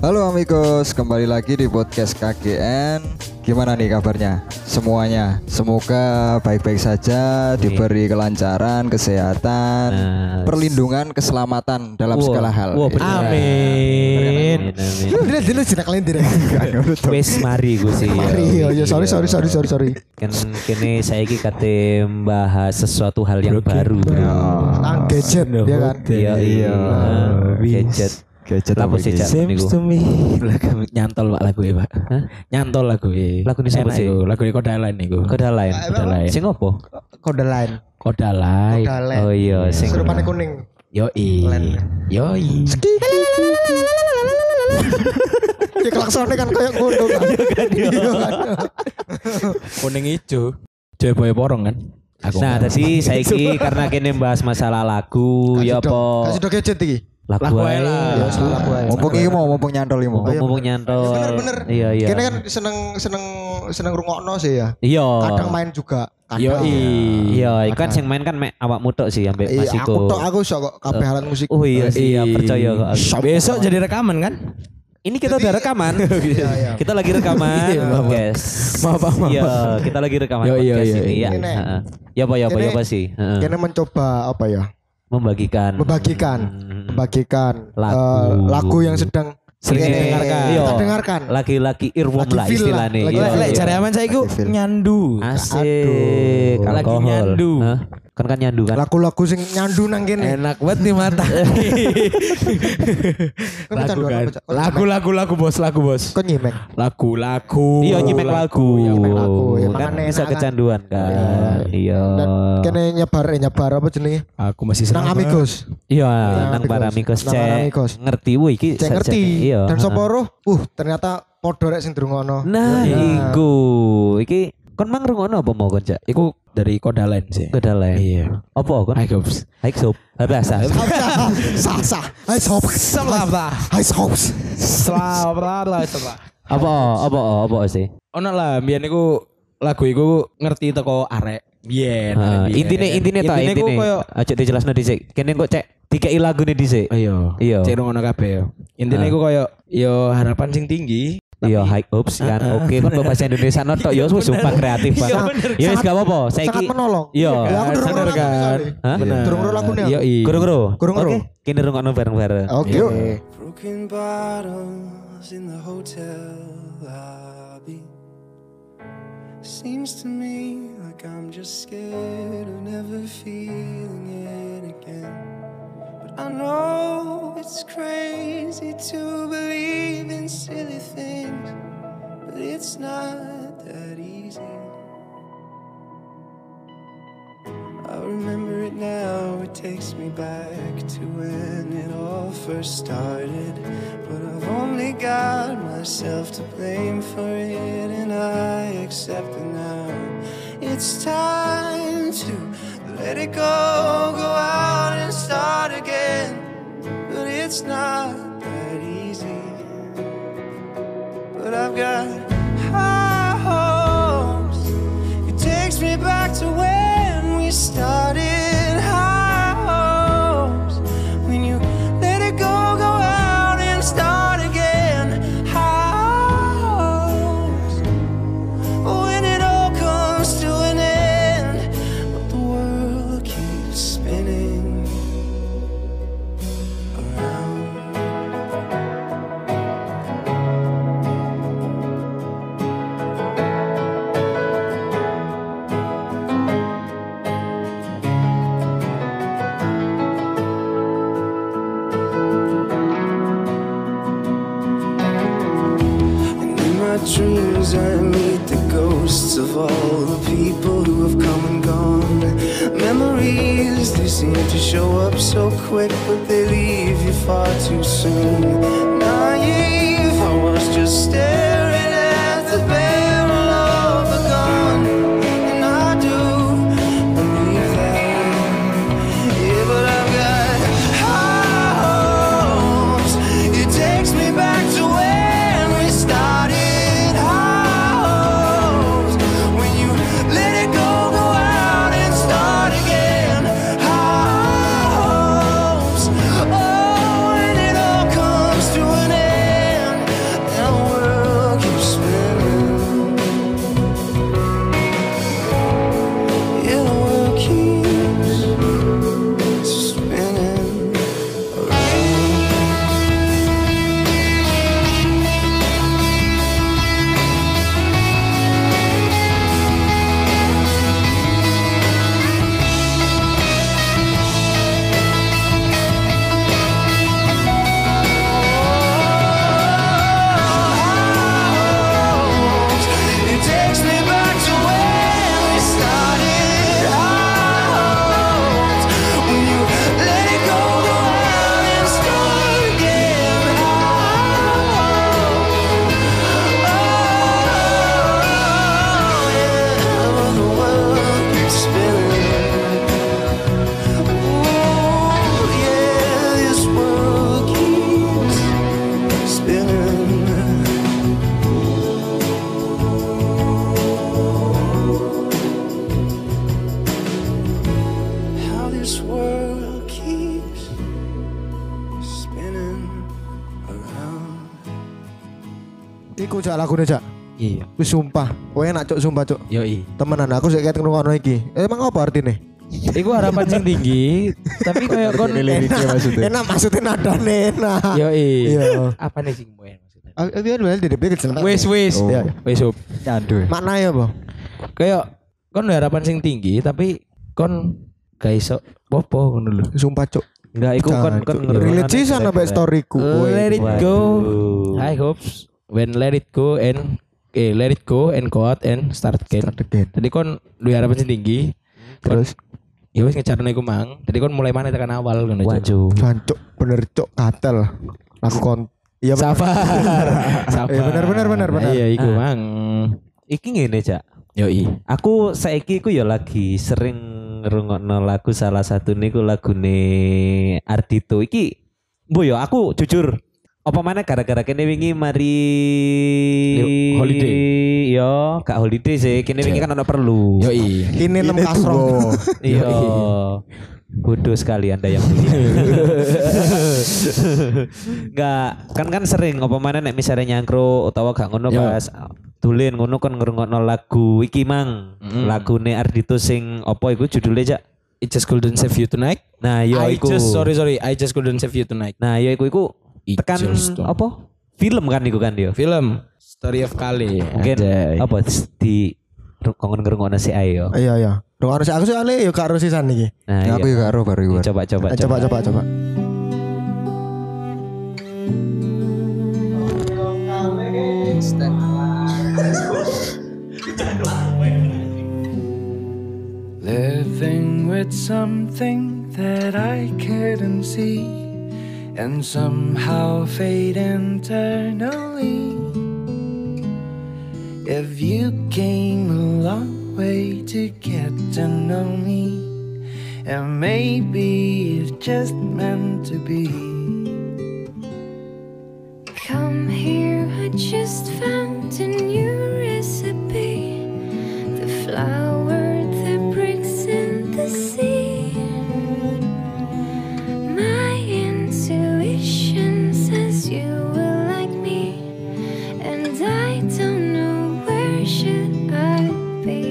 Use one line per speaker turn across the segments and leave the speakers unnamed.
Halo amigos, kembali lagi di podcast KGN. Gimana nih kabarnya? Semuanya, semoga baik-baik saja, diberi kelancaran, kesehatan,
Nah,
perlindungan, keselamatan dalam
Wow,
segala hal.
wow,
Iya.
bener.
Amin.
Amin, amin.
Lu dilihat dilihat sih kalian tidak.
Wes mari gue sih. Iya,
Mari, yo, yo, iya, sorry, sorry, sorry, sorry, sorry.
Kan kene saya ki kate bahas sesuatu hal yang baru.
Ya.
Tentang gadget, ya Iya. kan?
Iya, iya. Gadget.
Gadget
Apa
apa
sih,
iki?
Cak?
Seems to me lagu nyantol pak lagu pak.
Hah?
Nyantol lagu e.
Lagu ini siapa
Enak
sih?
iku, Lagu ini koda lain nih
Koda lain.
Koda lain.
Sing opo?
Kode lain.
Koda lain.
Koda lain.
Oh iya, sing
Serupannya kuning.
Yoi.
Lain.
Yoi.
Ya klaksonnya kan kayak gunung kan. Iya kan.
Kuning hijau. Joy boy porong kan. Aku
Nah,
nggak
tadi saya ki karena kene bahas masalah lagu, ya
Kasih dong-
apa?
Kasih dong gadget iki.
Lagu
Lagu
ae
ae lah.
Ya sudah aku aja.
Mumpung iki mau, mumpung nyantol iki mau.
Oh, iya,
Mumpung
Ya,
nyantol.
Bener bener.
Iya, iya.
Kini kan seneng seneng seneng rungokno sih ya.
Iya.
Kadang main juga.
tahu. Yoi.
Iya, iku kan sing main kan mek awak mutok sih sampai
Iya,
Mas
aku
Iko.
tok aku sok kok kabeh alat musik.
Oh iya sih, iya, percaya kok. aku.
Besok jadi rekaman kan?
Ini kita udah rekaman.
Iya, iya.
Kita lagi rekaman
Iya, maaf,
podcast.
Maaf, maaf, maaf.
Iya, kita lagi rekaman
Yo, yo,
podcast
yo,
ini
yo.
ya.
Ini, Nek.
heeh. Ya apa ya apa ya
Ini-
apa sih? Heeh.
Kini mencoba apa ya?
Membagikan.
Membagikan,
Hmm.
membagikan eh,
Lagu.
lagu yang sedang
Sering
kene
didengarkan.
Kita
Iya.
dengarkan.
Lagi-lagi earworm
Lagi
lah
feel lah,
istilahnya.
lagi
Iya,
feel.
Lek
iya.
jari aman saya iku nyandu.
Asik,
Aduh. Lagi
alkohol.
nyandu.
Hah? Kan kan nyandu kan.
Lagu-lagu sing nyandu nang kene.
Enak banget nih mata.
Kan kecanduan,
lagu kan.
kecanduan.
Lagu lagu lagu bos lagu bos.
Kok nyimek?
Lagu lagu.
Iya nyimak lagu.
Iya, nyimak
lagu, ya,
Kan
makanya
bisa
enak kan.
kecanduan kan. Iya.
Dan kene nyebar eh, nyebar apa jenenge?
Aku masih
Nang
selamat.
amigos.
Iya,
Nang
nang para amigos
amigos. Nang para
cek
amigos.
ngerti wih iki
Cek ngerti.
Iya.
Dan
heeh.
sapa roh? Uh, ternyata podo rek sing Iya. durungono.
Nah, iku iki kon mang rungokno apa mau kon cak?
Iku dari Kodalen sih.
Kedalae.
Iya.
Apa kon?
Hai Gobs.
Haik sop. Bahasa.
Sah sah. Hai sop.
Selamat.
Hai sop.
Selamat lah selamat.
Apa apa apa sih?
Ono lah biyen niku lagu iku ngerti teko arek.
Heeh,
Biyen. arek biyen.
Intine intine ta
iya, Ah, Intine ku
intine.
koyo
Aja dijelasno dhisik. Kene kok cek dikei lagune dhisik.
Iya. Ah.
Iya.
Cek ngono kabeh yo. Intine iku koyo yo harapan sing tinggi.
Iya, high hopes kan. Oke, kan bahasa Indonesia notok ya wis sumpah kreatif
Iya,
banget.
bener.
Ya wis gak apa-apa.
Sangat
Saiki
menolong.
Iya.
Ya, aku durung
Sadar
ngono
kan.
Hah?
Durung
Nah,
ngono lagune. aku.
iya,
Yo i.
Guru-guru.
Gurung guru.
Oke, kene rungokno bareng-bareng.
Oke.
Yuk.
Broken bottles in the hotel lobby. Seems to me like I'm just scared of never feeling it again. But I know it's crazy to believe in silly things, but it's not that easy. I remember it now, it takes me back to when it all first started. But I've only got myself to blame for it, and I accept it now. It's time to let it go, go out and start again. But it's not that easy. But I've got high hopes. It takes me back to when we started. High hopes. When you let it go, go out and start again. High hopes. When it all comes to an end, but the world keeps spinning around. And in my dreams, I meet the ghosts of all the people who have come and gone. Memories, they seem to show up so quick, but they leave you far too soon. Naive, I was just staring at the barrel of a gun. And I do believe that. Yeah, but I've got high hopes. It takes me back to when we started. High hopes. When you let it go, go out and start again. High hopes. Oh, when it all comes to an end, world keeps spinning around.
Iku cak lagune cak.
Iya.
Wis sumpah. Kowe enak cuk sumpah cuk.
Yoi.
Temenan aku sik ket ngrungokno iki. Emang apa artine?
Iku harapan sing tinggi, tapi koyo kon eh,
Liriknya maksudnya.
Enak maksudnya nadane enak.
Yoi.
Iya.
Apa nih sing muen maksudnya?
Aku biar biar di depan kecil.
Wis wis.
Oh.
Iya.
Wis up.
Nyandu.
Makna ya boh.
Kayak kon harapan sing tinggi tapi kon gak iso popo ngono lho.
Sumpah cuk.
Enggak, iku kan
Jangan,
kan
Cuk. relate sih sana back storyku.
Let it go.
Gitu.
Waduh.
I hope when let it go and eh let it go and go out and start again.
Start again.
Tadi kon lu harapan sing tinggi.
Terus
Ya wis ngejarno iku mang. Tadi kon mulai mana tekan awal ngono. Cuk.
Waduh.
jancuk bener cuk katel. Aku kon Iya bener.
Sabar. Sabar.
Iya, benar, benar, benar, benar. Ah.
Iya iku mang.
Iki ngene, Cak.
Yoi.
Aku saiki iku ya lagi sering ngrungokno lagu salah satu niku lagune Ardito. Iki mbo ya aku jujur apa mana gara-gara kene wingi mari
Li- holiday.
Yo, gak holiday sih. Kene wingi kan ono perlu.
Yoi.
Ini nem kasro.
Iya. Bodoh sekali Anda yang mulia. Enggak, kan kan sering apa mana nek misalnya nyangkru utawa gak ngono
Ya.
pas tulen ngono kan ngrungokno lagu iki mang.
Mm.
Lagune Ardito sing apa iku judulnya Cak?
It just couldn't save you tonight.
Nah, yo
I
iku.
just sorry sorry. I just couldn't save you tonight.
Nah, yo iku iku
It
tekan
just don't.
apa? Film kan iku kan yo.
Film Story of Kali.
Mungkin apa di ngrungokno si ayo.
Iya iya. Dong harus aku sih ale yo gak harus sisan iki.
Nah,
Ya, aku
iya.
juga karo baru iku.
Coba coba
Eh, Coba coba coba.
Living with something that I couldn't see and somehow fade internally. If you came a long way to get to know me, and maybe it's just meant to be.
Come here, I just found a new recipe. The flower that breaks in the sea. My intuition says you will like me, and I don't know where should I be.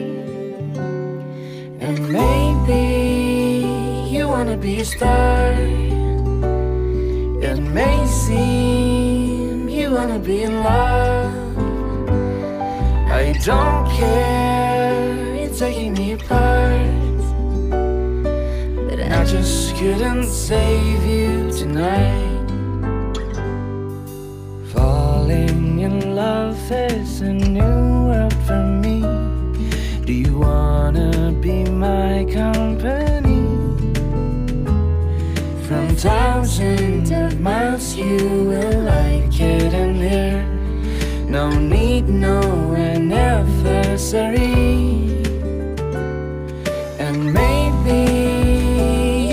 And maybe you wanna be a star. It may seem you wanna be in love. I don't care, it's taking me apart.
But
And I just couldn't save you tonight. Falling in love is a new world for me. Do you wanna be my company? From thousands of miles, you will like it in here. No need, no, anniversary. And maybe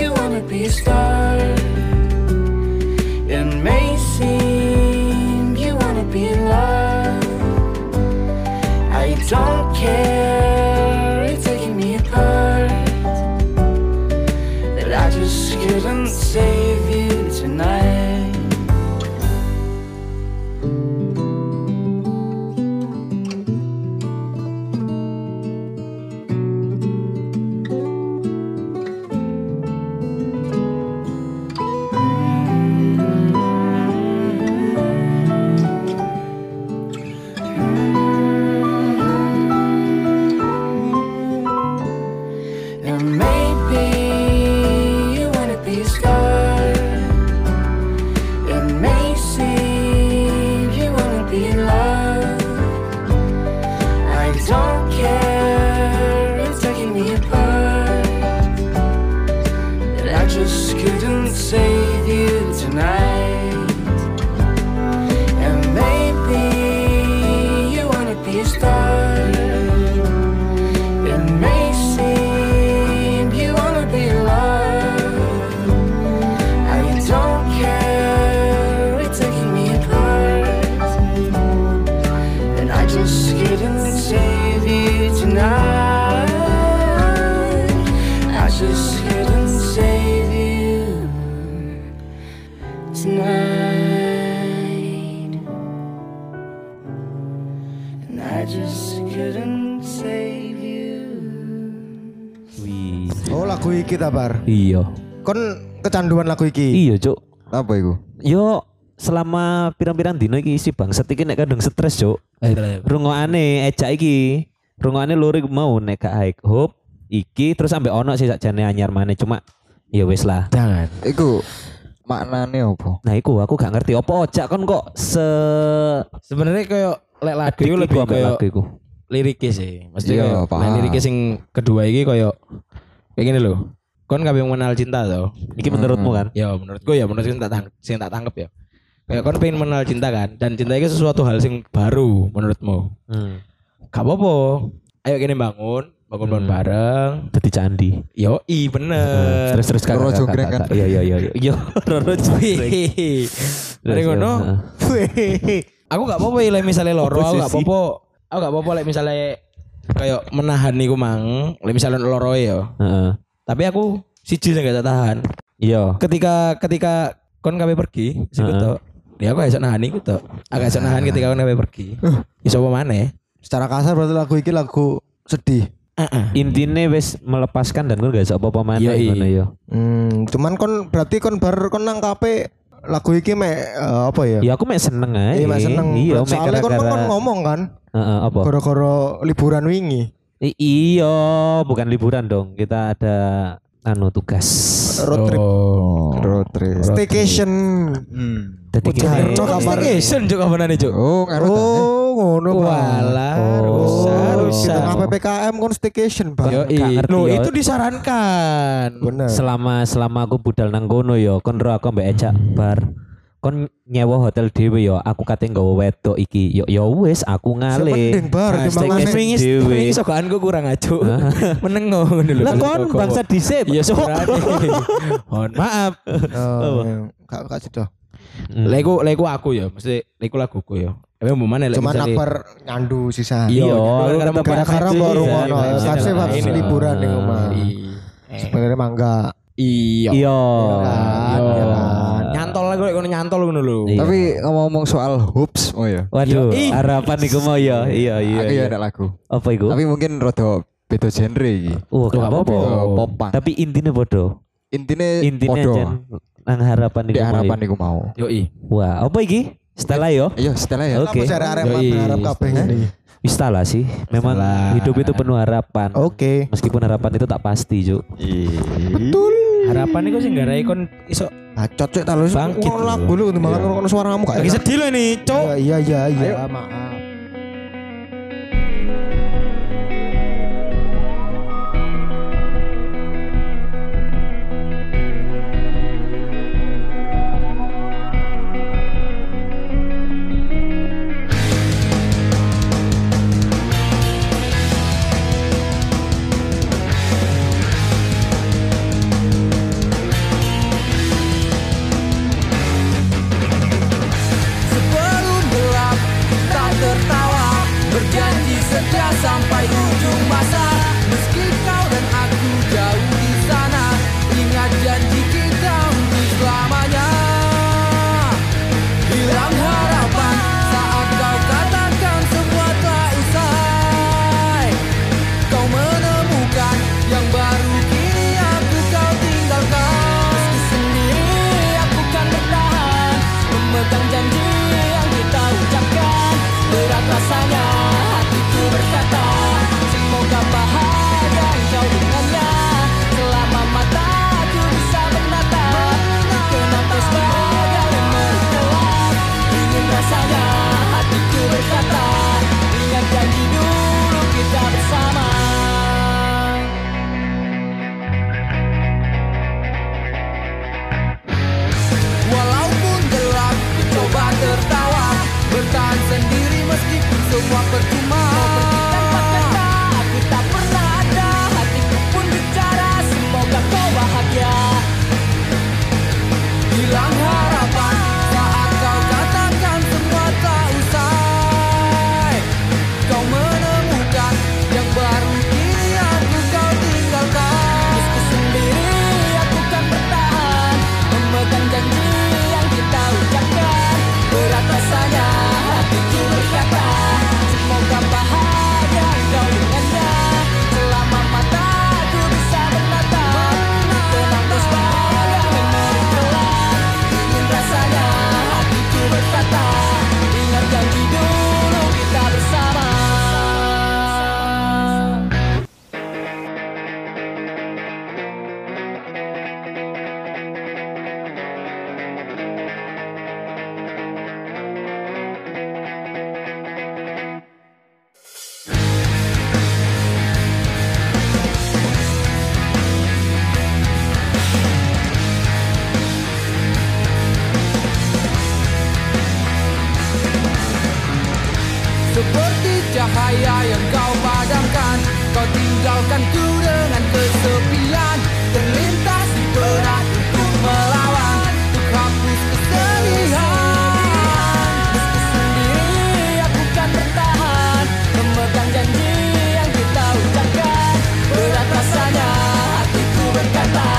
you wanna be a star. It may seem you wanna be in love. I don't care, it's taking me apart. But I just couldn't save you tonight. And maybe you wanna be a star. It may seem you wanna be in love. I don't care, it's taking me apart. But I just couldn't save you tonight. And maybe you wanna be a star. It may seem you wanna be loved. I don't care, it's taking me apart. And I just couldn't save you tonight. I just couldn't save
Oh, iki ta bar.
Iya.
Kon kecanduan lagu iki.
Iya, Cuk.
Apa iku?
Yo selama pirang-pirang dino iki isi bangsat iki nek kadung stres, Cuk. Rungokane ejak iki. Rungokane lurik mau nek gak high hope iki terus ambek ono sih sakjane anyar maneh cuma ya wis lah.
Jangan.
Iku maknane apa?
Nah, iku aku gak ngerti opo ojak kon kok se
Sebenarnya kayak lek lagu
Adik
itu
iku
lebih
ambek
kayak
lagu iku.
liriknya sih. Mesti
Iya,
kayak lek
paham.
liriknya sing kedua iki kayak kayak gini loh. Kon kabeh mengenal cinta toh.
Iki menurutmu kan?
Ya menurutku ya menurutku sing tak tang sing tak tangkep ya. Kayak kon pengen mengenal cinta kan dan cinta itu sesuatu hal sing baru menurutmu.
Hmm.
Gak apa-apa. Ayo gini bangun, bangun-bangun
Hmm.
bareng.
Dadi candi.
Yo, i bener.
terus terus
Roro Jonggrang kan?
Iya iya iya. iya. Yo Roro Jonggrang.
Wih. Dari
Terus,
ngono.
heeh.
wih. Aku gak apa-apa lek misalnya loro, aku gak apa-apa. Aku gak apa-apa lek misalnya kayak menahan niku mang, lek misalnya loro ya.
Heeh.
Tapi aku siji sing gak tak tahan.
Iya.
Ketika ketika kon kabeh pergi, sing
Heeh.
tok. Ya aku gak iso nahan iku tok. Aku gak iso nahan ketika kon kabeh pergi. Iso apa maneh?
Secara kasar berarti lagu iki lagu sedih.
Intine wis melepaskan dan gue gak iso apa-apa maneh
Yoi.
ngono yo.
Hmm, cuman kon berarti kon bar kon nangkape lagu iki mek eh, apa ya?
Ya aku mek seneng ae.
Iya, mek seneng.
Iya, mek
Soalnya kon
gara-gara-
kon ngomong kan,
Heeh, apa?
gara-gara liburan wingi.
I- Iya, bukan liburan dong. Kita ada anu tugas.
Road trip,
Oh.
Road trip.
staycation.
Jadi
Ujar,
gini- eh,
Cok, apa?
Staycation juga kabarane, Cuk.
Oh, ngaruh ta?
Oh, ngono Bang.
eh? Walah, rusak,
Oh, di
rusak.
tengah PPKM kon staycation,
Yo,
Bang.
Gak ngerti,
no,
yo.
itu disarankan.
Bener.
selama selama aku budal nang kono yo, kon ro aku mbek ejak bar. Kon nyewa hotel dhewe yo, aku kate nggawa wedok iki. Yo yo wis aku ngale.
Mending bar
Nah,
timbangane
staycation.
Mingis,
Dewe.
mingis sokan gue kurang acu. Menengo ngono lho.
Lah kon bangsa dhisik.
Iya, sebenarnya. Mohon maaf.
Oh, iya. Gak gak sedo.
Hmm.
Leku leku aku ya, mesti leku laguku ya. Emang mau mana lek
Cuman
misalnya-
akbar nyandu sisa.
Iya,
Iya,
aku
tetep
karena-
Gara-gara
Iya,
baru
iya,
ngono.
iya,
Kasih
iya,
habis
iya.
liburan di rumah.
I-
Sebenarnya mangga.
Iya.
Iya.
kan, iya kan.
Nah, Nyantol lah gue, nyantol ngono lho.
Iya.
Tapi ngomong-ngomong soal hopes, oh ya.
Waduh,
Iya.
harapan iku mau ya. Iya, iya.
Aku
iya.
ya ada lagu.
Apa iku?
Tapi mungkin rada beda genre iki.
Oh, gak apa-apa.
Oh, pop punk.
Tapi intinya bodoh.
Intine
Intinya
podo.
aja nang harapan
Eh,
iku
Di
mau ya.
harapan iku mau.
Yo i.
Wah, apa iki? Stella yo.
Ayo, setelah ya.
Oke.
Kamu cari arema
Yoi.
berharap kabeh
iya.
eh. ini.
Istala sih. Memang
Stella.
hidup itu penuh harapan.
Oke.
Meskipun harapan itu tak pasti, Juk.
Harapan iku sing garai kon iso
Bacot cek talu
Bangkit
ngono
lho.
lagu lu timbangan ngono suaramu gak
lagi
enak.
sedih lho ini, Cuk.
Iya iya iya iya. Maaf.
Sebelum gelap tak kan kan cahaya yang kau padamkan Kau tinggalkanku dengan kesepian Terlintas di benakku melawan Untuk hapus kesedihan Meski sendiri aku kan bertahan Memegang janji yang kita ucapkan Berat rasanya hatiku berkata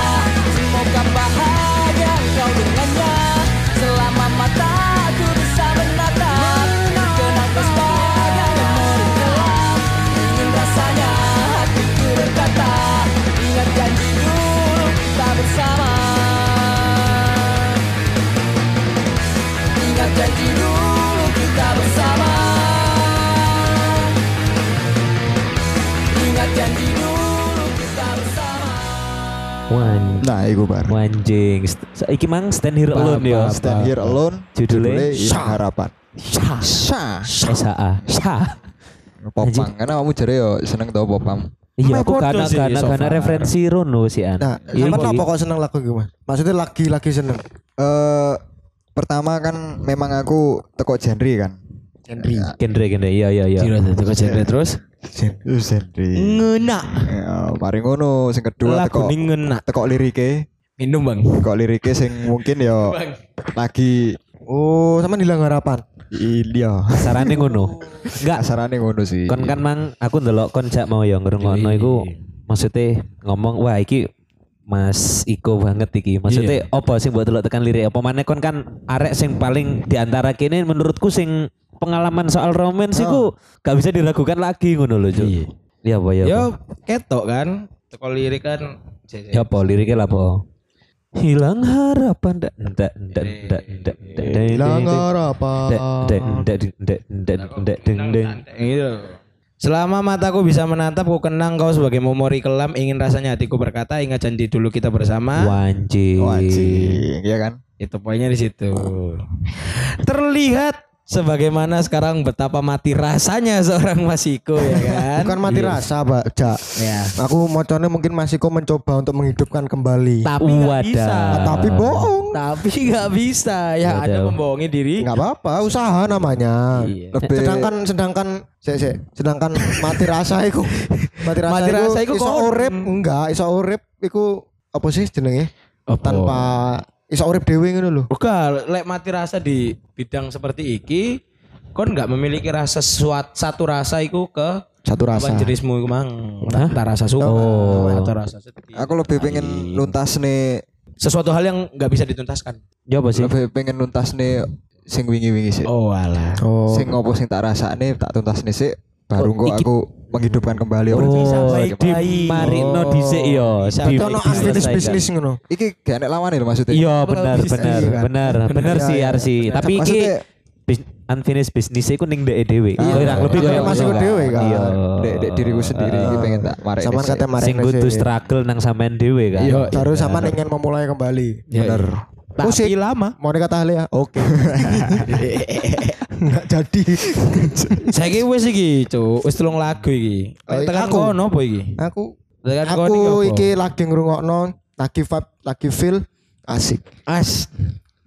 Semoga bahagia kau dengannya Selama mataku bisa menatap Kenang pesona memori kelam Ingin rasanya hatiku berkata Ingat janji dulu kita bersama Ingat janji dulu kita bersama Ingat janji dulu kita bersama
Wan,
Nah, iku bar.
wanjing. St- Saiki mang stand here alone ya.
Stand here alone.
Judulnya
Iya,
Hilang harapan.
Sha.
Sha.
SHA. Sha.
Popang karena kamu jare yo seneng tau popang.
Iya,
Apa
aku
bodoh
karena
sih,
karena
so
karena
far?
referensi Rono sih an.
Nah,
Iya, iya.
sampean apa kok seneng lagu iki, Mas? Maksudnya lagi-lagi seneng.
Eh pertama kan memang aku teko genre kan.
Henry.
Genre genre. Iya iya iya.
Tiro tuh kok jadi terus.
Genre. Genre.
Ngena.
Ya, paling ngono sing kedua
Lagu
teko
ini ngena.
teko lirike,
Minum bang.
teko lirike sing mungkin yo lagi
Oh, sama hilang harapan.
iya.
Sarane ngono. Enggak,
Kasarane ngono sih.
kon kan mang aku ndelok kon jak mau ya ngrungokno iku maksudnya ngomong wah iki Mas Iko banget iki. Maksudnya apa sing buat delok tekan lirik apa maneh kon kan arek sing paling diantara kene menurutku sing pengalaman soal romance iku gak bisa diragukan lagi ngono lho, Cuk.
Iya.
Iya apa ya. apa?
Yo ketok kan. Teko lirik kan.
Ya apa liriknya lah apa? Hilang harapan ndak ndak ndak ndak ndak ndak
Hilang
ndak
harapan.
ndak ndak ndak ndak ndak deng deng
Gitu. Selama mataku bisa menatap, ku kenang kau sebagai memori kelam. Ingin rasanya hatiku berkata, ingat janji dulu kita bersama.
wanji
wajib, ya kan?
Itu poinnya di situ. Terlihat sebagaimana sekarang betapa mati rasanya seorang Masiko ya kan.
Bukan mati rasa, Pak. Ja. Aku moconnya mungkin masih kok mencoba untuk menghidupkan kembali. Nah,
Tapi nggak
Wadah.
bisa.
Ah, Tapi bohong.
Tapi nggak bisa. Ya
Wadah.
ada membohongi diri.
Enggak apa-apa, usaha namanya.
Lebih-
Sedangkan sedangkan sik, sik. sedangkan mati rasa iku. Mati rasa,
Mati rasa iku
iso
kon.
urip, enggak, iso urip iku apa sih jenenge? Tanpa iso urip dhewe ngono lho.
Bukan, lek mati rasa di bidang seperti iki, kon nggak memiliki rasa suat, satu rasa iku ke
Satu
Apa
rasa.
jenismu iku mang? Tak rasa suka, atau rasa sedih.
Aku lebih
Iya,
pengen luntas nih,
Sesuatu hal yang nggak bisa dituntaskan.
ya apa sih
lebih pengen luntas nih sing wingi-wingi sih.
Oh alah.
Oh.
Sing ngopo sing tak rasane tak tuntas nih sih. Baru kok aku menghidupkan
ya,
kembali apa
oh
baik-baik.
di marino dhisik yo
Bisa.
Di-
Itu ono
diselesaikan.
aktivis bisnis ngono.
Iki gak enak lawan lho maksudnya.
iya benar benar
Iya, kan?
benar benar
Iya,
sih
iya.
Arsi tapi iki
Maksudnya-
bis- unfinished business iku ning dhek dhewe kurang lebih
Iya,
koyo
masih
ngono,
ku dhewe, kan?
iya
Dek, dek diriku sendiri iki pengen tak marek.
Sama kata Mare.
sing kudu struggle nang sampean dhewe kan
Yo,
Baru sama ingin memulai kembali.
bener.
tapi Iya, lama.
Mau kata ahli ya? Oke. Enggak jadi.
Saiki wis iki, Cuk. Wis telung lagu iki.
Oh,
Lek tekan
aku.
kono apa iki?
Aku
Tekan kono
aku
kan apa?
iki lagi ngrungokno, lagi vibe, lagi feel asik.
as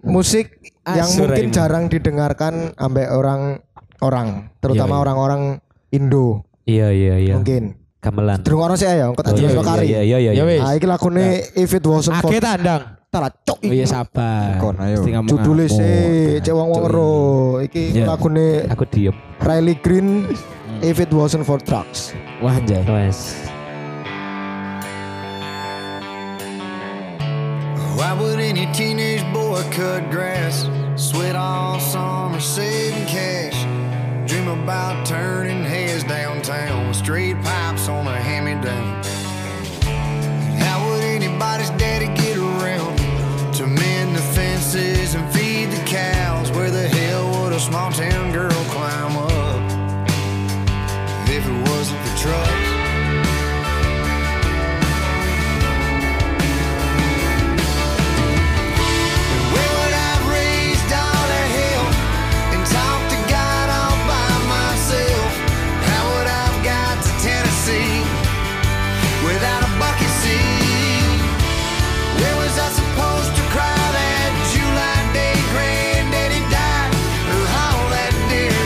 musik
Ah,
yang
suara
mungkin
ini.
jarang didengarkan ambek orang-orang,
Iya,
terutama orang-orang Indo
iya iya iya
mungkin.
gamelan
Durung ono sih ya, engko
Oh,
tak jelasno kari.
Iya iya iya.
Ya wes.
Ah iki lagune If It Wasn't For
Ake tandang.
Tara cok
Nah. Oh iya sabar.
Kon, ayo.
Mesti ngomong
Judule
apa.
sih cek wong-wong ero. Iki
Iya.
lagune
Aku diem.
Riley Green
Hmm.
If It Wasn't For Drugs.
Wah anjay.
Wes.
Why would any teenage boy cut grass? Sweat all summer saving cash. Dream about turning heads downtown with straight pipes on a hand me down. How would anybody's daddy get around to mend the fences and feed the cows? Where the hell would a small town girl climb up if it wasn't for trucks? Well, I've raised all that hell and talked to God all by myself. How would I've got to Tennessee without a bucket seat? Where was I supposed to cry that July day granddaddy died? Or haul that deer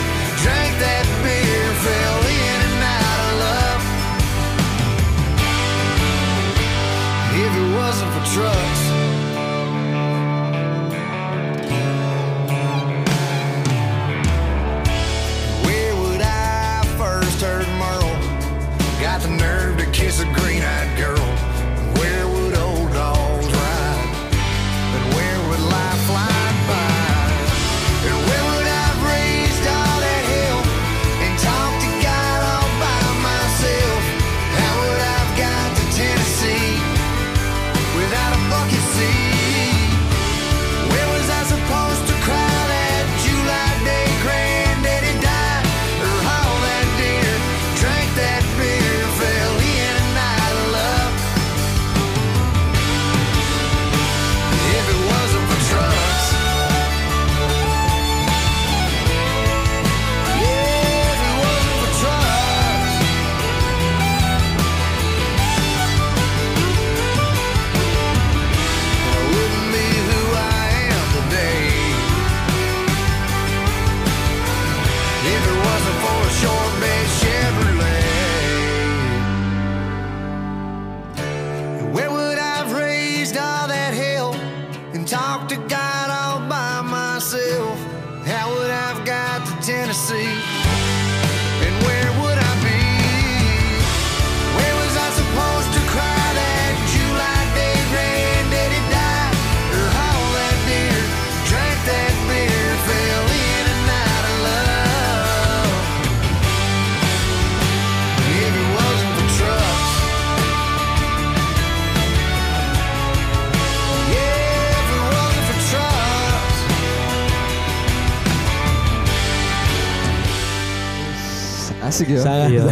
and talk to God all by myself, how would I have got to Tennessee? And where would I be? Where was I supposed to cry that July day granddaddy died? Or haul Oh, that deer, drank that beer, fell in and out of love. If it wasn't for trucks, yeah, if it wasn't for trucks.
Asik ya.
Sangat. Iya.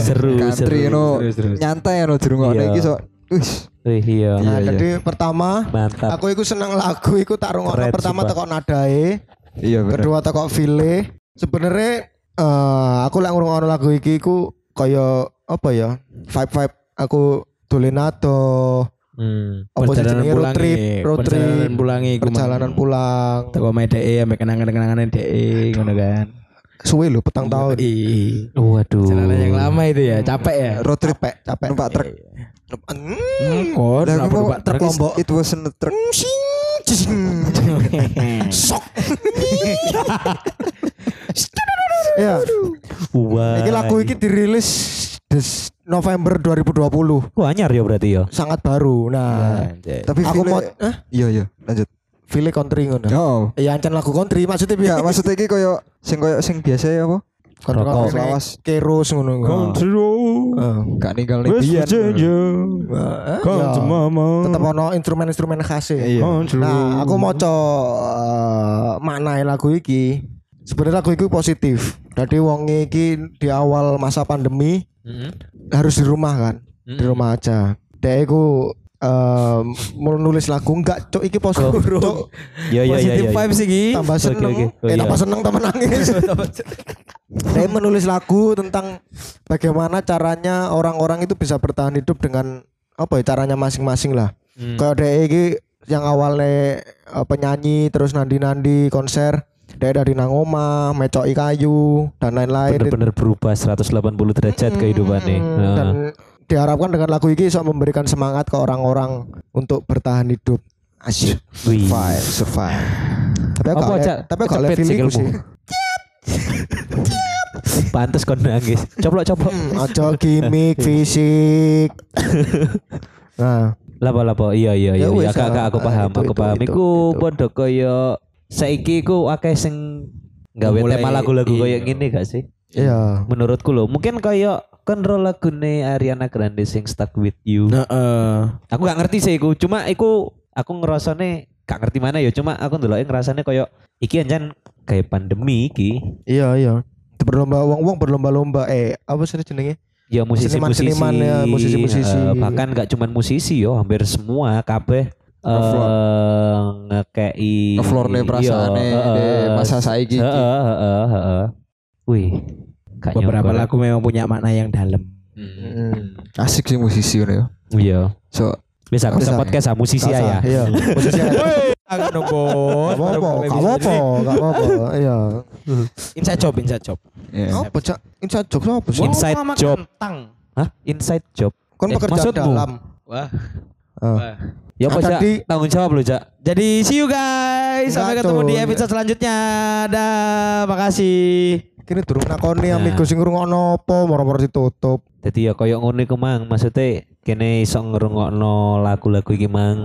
Seru,
Country
seru,
no
seru, seru.
nyantai no dirungokne
Iya.
iki sok. Wis.
Wih, iya.
Iya,
Nah,
iya.
jadi pertama
Mantap.
aku iku seneng lagu iku tak rungokno
Keren sih,
pertama
Pak.
teko nadae,
Iya bener.
kedua teko file. Sebenarnya eh, aku lek ngrungokno lagu iki iku kaya apa ya? Vibe-vibe aku Dolenado,
Hmm.
apa sih
Perjalanan
jenenge road
pulangi,
trip, road trip,
perjalanan pulangi iku, Mang.
perjalanan pulang.
Teko omahe DE ambek kenangan-kenangan DE ngono kan.
Suwe lho
Iya,
petang tahun.
Ih.
Waduh.
Perjalanan yang lama itu ya, capek ya.
Road trip
Capek, capek.
numpak truk.
Hmm,
Lah,
Kok kenapa
kok-
numpak truk lombok?
It was a truck.
Iya.
Wah.
Iki lagu iki dirilis des November 2020.
Wah, anyar ya berarti ya.
Sangat baru. Nah,
Tapi feel-
aku mau eh
Iya iya, lanjut.
file country
Nah.
ngono.
Oh.
Ya ancen lagu country maksudnya
Ya
piye?
maksudnya iki koyo sing koyo sing biasa ya apa?
Kontrol
Rokok.
lawas keros ngono. Eh, Country.
Gak ninggal ning biyen.
Ya. Tetep ono instrumen-instrumen khas
Iya.
Nah, aku maca eh, maknae lagu iki. Sebenarnya lagu itu positif. Jadi wong iki di awal masa pandemi harus di rumah kan, di rumah aja. Dia iku eh, mau nulis lagu enggak cok iki positif cok
Iya, iya, iya,
Positive
iya.
vibes iki.
tambah
Oke,
seneng
oke. Oh,
eh
iya.
tambah seneng tambah nangis Dia menulis lagu tentang bagaimana caranya orang-orang itu bisa bertahan hidup dengan apa ya caranya masing-masing lah
Hmm.
kalau dia ini yang awalnya eh, penyanyi terus nandi-nandi konser dia dari nangoma mecoki kayu dan lain-lain
Bener-bener berubah 180 derajat kehidupannya. Ah. Heeh.
Hmm. dan diharapkan dengan lagu ini bisa memberikan semangat ke orang-orang untuk bertahan hidup asyik
Wih.
Survive, survive.
tapi
Apa,
kalau
Cak?
tapi kalau
Kecepet
feelingku
sikilmu.
sih
Pantes kon nangis. Coplok-coplok.
Hmm. Ojo gimmick fisik. nah,
Lapa-lapa. Iya, iya, iya.
Ya
iya.
wis,
Kak, kak, aku
ah,
paham,
itu,
aku
itu,
paham.
itu,
Iku
itu.
podo koyo saiki iku akeh sing gawe
Mulai,
tema lagu-lagu koyo
iya.
ngene gak sih?
iya.
Menurutku loh, mungkin koyo kontrol lagune Ariana Grande sing Stuck With You.
Heeh.
Aku gak ngerti sih iku, cuma iku aku ngerasane gak ngerti mana ya, cuma aku ndeloke ngerasane koyo iki anjan kayak pandemi iki.
Iya, iya. Berlomba wong-wong berlomba-lomba eh apa sih jenenge?
Ya musisi-musisi,
Seniman-seniman, ya, musisi-musisi.
eh, bahkan gak cuman musisi yo, hampir semua kabeh
Ngevlog.
eh ngekei
Ngevlorne
iya,
perasaane
eh,
di masa saiki iki.
Heeh, heeh, heeh. eh. Wih, gak
Beberapa
nyangka.
lagu memang punya makna yang dalam.
Asik sih musisi ngono ya.
Iya.
So,
Wis aku
Bisa.
sempat podcast ah, musisi
Gak
ya.
usah, Iya. Posisi aja.
Agak nombor.
Gak apa-apa, gak apa-apa, gak apa-apa. Iya.
Inside job, inside job.
iya.
Apa cak? Inside joke apa sih?
Inside
Mama
job.
kentang.
Hah? Inside job.
Kon
Eh,
pekerja
maksudmu?
dalam.
Wah.
Eh.
Wah.
Ya apa
Ah,
Cak?
tadi-
Tanggung jawab lo Cak.
Jadi see you guys. Sampai
Enggak,
ketemu
Cuk.
di episode selanjutnya. Dah, makasih.
Kini durung nakoni
Nah.
amigo sing ngrungokno apa moro-moro ditutup.
Jadi ya koyo ngono iku mang, maksudnya kene iso ngrungokno lagu-lagu iki mang.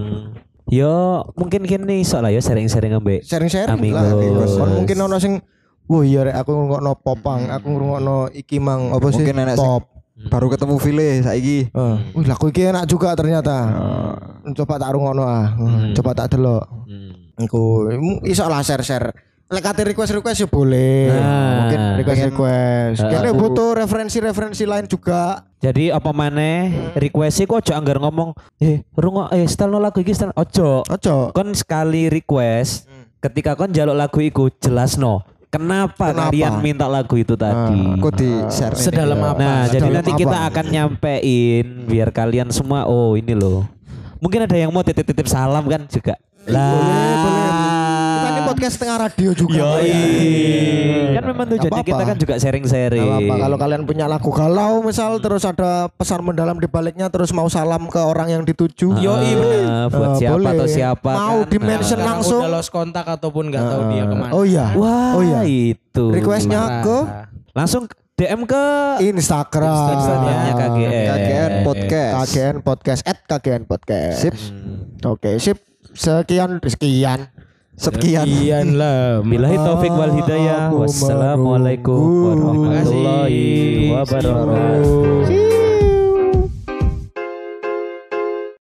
Yo mungkin kene iso lah ya sering-sering ambek
Sharing-sharing lah.
Amigos.
Kon mungkin ono sing Wah iya rek aku ngrungokno popang, aku ngrungokno iki mang apa sih?
Mungkin enak sing-
pop.
baru ketemu Vile saiki.
Eh, Wih, lagu iki enak juga ternyata. Coba tak rungokno ah. Hmm, Coba tak delok. Iku mu- iso lah share-share. Lek ate request-request ya boleh. Mungkin request-request. Kene butuh referensi-referensi lain juga.
Jadi apa
Hmm.
maneh request iku ojo anggar ngomong eh rungok eh style no lagu iki style ojo.
Ojo.
Kon sekali request ketika kon jaluk lagu iku jelas no. Kenapa,
Kenapa? Ah,
kalian minta lagu itu tadi?
Kok di share nih?
Sedalam apa?
Nah, jadi
dalam
nanti kita
apa?
akan nyampein biar kalian semua oh ini loh. Mungkin ada yang mau titip-titip salam kan juga. Lah,
Iya, Kita ini podcast setengah radio juga.
Kan memang tujuannya
apa-apa.
kita kan juga
Nggak
sharing-sharing.
apa-apa. Kalau kalian punya lagu galau misal terus ada pesan mendalam di baliknya terus mau salam ke orang yang dituju. Ah,
Yo, iya, bener. buat siapa atau siapa
Mau
kan.
di-mention
Nah.
langsung.
udah lost kontak ataupun nggak tahu dia kemana
Oh iya.
Wah,
Oh iya.
itu. Nah.
Requestnya ke
langsung DM ke
Instagram.
Instagramnya KGN.
KGN podcast.
KGN podcast at KGN podcast.
Sip.
Oke, sip. Sekian sekian.
Sekian.
Ian lah
Bilahi taufik wal hidayah.
Aku
Wassalamualaikum
merunggu.
warahmatullahi wabarakatuh.
Sip.